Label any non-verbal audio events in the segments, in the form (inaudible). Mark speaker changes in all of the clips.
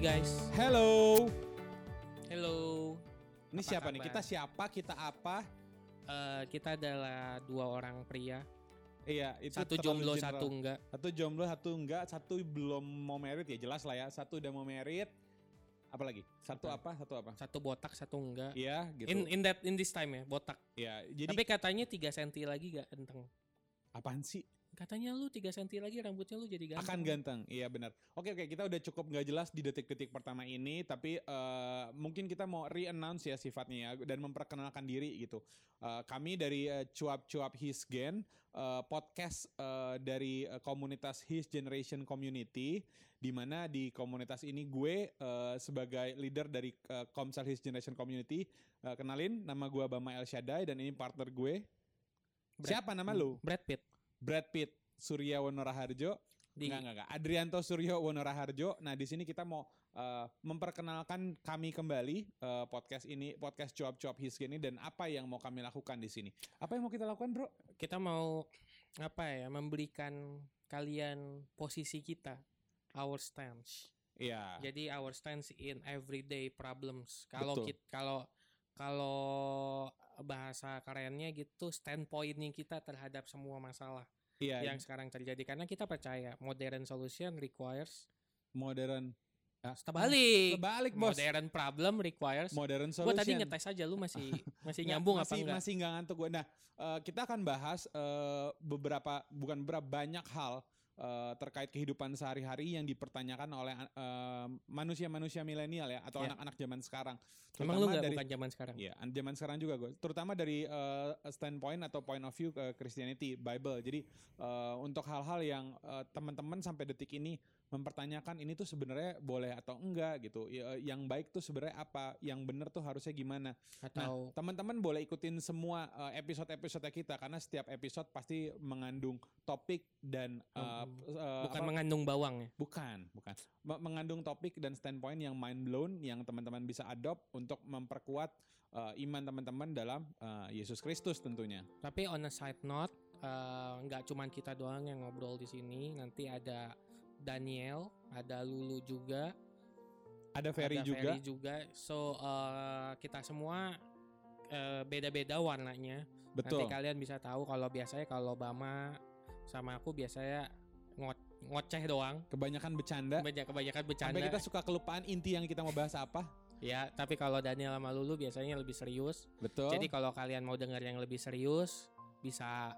Speaker 1: guys.
Speaker 2: Hello.
Speaker 1: Hello.
Speaker 2: Ini
Speaker 1: Apa
Speaker 2: siapa nih?
Speaker 1: kabar?
Speaker 2: Kita siapa? Kita apa?
Speaker 1: Eh, kita adalah dua orang pria.
Speaker 2: Iya, itu
Speaker 1: Satu
Speaker 2: terlalu
Speaker 1: jomblo,
Speaker 2: general.
Speaker 1: satu enggak.
Speaker 2: Satu jomblo, satu enggak, satu belum mau merit ya jelas lah ya. Satu udah mau merit. Apalagi? Satu
Speaker 1: Apa?
Speaker 2: apa? Satu apa?
Speaker 1: Satu botak, satu enggak.
Speaker 2: Iya, gitu.
Speaker 1: In in that in this time ya, botak.
Speaker 2: Iya, jadi
Speaker 1: Tapi katanya 3 cm lagi gak ganteng.
Speaker 2: apaan sih?
Speaker 1: Katanya lu 3 cm lagi rambutnya lu jadi ganteng.
Speaker 2: Akan ganteng. Iya, benar. Oke, oke, kita udah cukup nggak jelas di detik-detik pertama ini, tapi eh, mungkin kita mau re-announce ya sifatnya ya dan memperkenalkan diri gitu. Eh, kami dari eh, cuap-cuap Hisgen, eh, podcast eh, dari eh, komunitas His Generation Community di mana di komunitas ini gue eh, sebagai leader dari eh, Komsel His Generation Community. Eh, kenalin nama gue Bama El Shaddai dan ini partner gue.
Speaker 1: Brad-
Speaker 2: Siapa nama lu?
Speaker 1: Hmm, Brad Pitt.
Speaker 2: Brad Pitt, Surya Wono Raharjo,
Speaker 1: Di-
Speaker 2: enggak enggak enggak. Adrianto Suryo Wono Raharjo. Nah, di sini kita mau eh, memperkenalkan kami kembali eh, podcast ini, podcast cuap-cuap Hiski ini dan apa yang mau kami lakukan di sini. Apa yang mau kita lakukan, Bro?
Speaker 1: Kita mau apa ya? Memberikan kalian posisi kita. Our stance.
Speaker 2: Iya.
Speaker 1: Jadi our stance in everyday problems. Kalau
Speaker 2: Betul.
Speaker 1: kit- kalau kalau bahasa kerennya gitu standpointnya kita terhadap semua masalah yang
Speaker 2: Iya,
Speaker 1: sekarang terjadi karena kita percaya modern solution requires
Speaker 2: modern.
Speaker 1: terbalik.
Speaker 2: Kebalik, Bos.
Speaker 1: Modern problem requires.
Speaker 2: Modern
Speaker 1: Gue
Speaker 2: solution.
Speaker 1: tadi ngetes aja lu
Speaker 2: (laughs)
Speaker 1: masih masih
Speaker 2: Nggak,
Speaker 1: nyambung
Speaker 2: masih,
Speaker 1: apa enggak?
Speaker 2: Masih nggak ngantuk gue. Nah, eh, kita akan bahas eh, beberapa bukan beberapa banyak hal eh, terkait kehidupan sehari-hari yang dipertanyakan oleh eh, manusia-manusia milenial ya atau
Speaker 1: Ya.
Speaker 2: anak-anak zaman sekarang.
Speaker 1: Emang lu
Speaker 2: Terutama
Speaker 1: nggak
Speaker 2: dari
Speaker 1: bukan zaman sekarang?
Speaker 2: Iya, an- zaman sekarang juga gue. Terutama dari eh, standpoint atau point of view ke Christianity, Bible. Jadi eh, untuk hal-hal yang eh, teman-teman sampai detik ini mempertanyakan ini tuh sebenarnya boleh atau enggak gitu. Ya, eh, yang baik tuh sebenarnya apa, yang benar tuh harusnya gimana.
Speaker 1: Atau
Speaker 2: Teman-teman boleh ikutin semua eh, episode-episode kita karena setiap episode pasti mengandung topik dan eh,
Speaker 1: Oh,
Speaker 2: p- eh,
Speaker 1: bukan
Speaker 2: apa-
Speaker 1: mengandung bawang ya?
Speaker 2: bukan bukan Me- mengandung topik dan standpoint yang mind blown yang teman-teman bisa adopt untuk memperkuat eh, iman teman-teman dalam eh, Yesus Kristus tentunya.
Speaker 1: Tapi on a side note, eh, nggak cuman kita doang yang ngobrol di sini. Nanti ada Daniel, ada Lulu juga,
Speaker 2: Ada Ferry
Speaker 1: ada
Speaker 2: juga.
Speaker 1: Ferry juga. So eh, kita semua eh, beda-beda warnanya.
Speaker 2: Betul.
Speaker 1: Nanti kalian bisa tahu kalau biasanya kalau Bama sama aku biasanya ngo- ngoceh doang,
Speaker 2: Kebanyakan bercanda.
Speaker 1: banyak kebanyakan bercanda.
Speaker 2: Sampai kita suka kelupaan inti yang kita mau bahas apa.
Speaker 1: Ya, tapi kalau Daniel sama Lulu biasanya lebih serius.
Speaker 2: Betul.
Speaker 1: Jadi kalau kalian mau dengar yang lebih serius bisa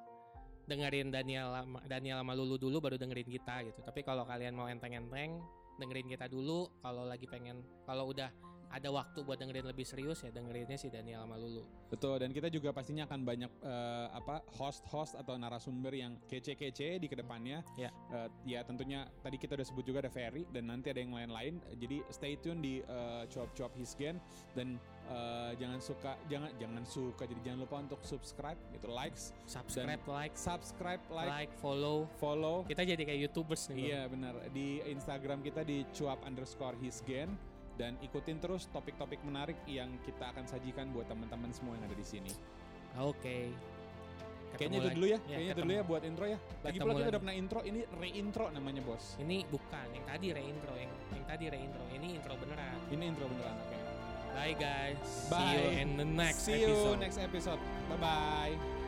Speaker 1: dengerin Daniel sama- Daniel sama Lulu dulu baru dengerin kita gitu. Tapi kalau kalian mau enteng-enteng dengerin kita dulu kalau lagi pengen kalau udah ada waktu buat dengerin lebih serius ya dengerinnya si Daniel sama Lulu.
Speaker 2: Betul dan kita juga pastinya akan banyak eh, apa host-host atau narasumber yang kece-kece di kedepannya.
Speaker 1: Ya.
Speaker 2: Eh, ya tentunya tadi kita udah sebut juga ada Ferry dan nanti ada yang lain-lain. Eh, Jadi stay tune di eh, cuap-cuap Hisgen dan eh, jangan suka jangan jangan suka jadi jangan lupa untuk subscribe gitu likes
Speaker 1: Subscribe, like,
Speaker 2: subscribe
Speaker 1: like,
Speaker 2: like,
Speaker 1: follow.
Speaker 2: follow.
Speaker 1: Kita jadi kayak YouTubers nih.
Speaker 2: Iya benar di Instagram kita di cuap underscore Hisgen dan ikutin terus topik-topik menarik yang kita akan sajikan buat teman-teman semua yang ada di sini.
Speaker 1: Bro. Oke. Ketemu
Speaker 2: Kayaknya itu
Speaker 1: lagi.
Speaker 2: dulu ya,
Speaker 1: Ya,
Speaker 2: kayaknya itu
Speaker 1: ketemu.
Speaker 2: dulu ya buat intro ya. Lagi pula
Speaker 1: Ketemu
Speaker 2: kita
Speaker 1: lagi.
Speaker 2: udah pernah intro, ini re-intro namanya bos.
Speaker 1: Ini bukan yang tadi reintro yang yang tadi reintro. Ini intro beneran.
Speaker 2: Ini intro beneran, oke.
Speaker 1: Bye guys. See
Speaker 2: Bye.
Speaker 1: you in the next
Speaker 2: See you
Speaker 1: episode.
Speaker 2: next episode. Bye-bye.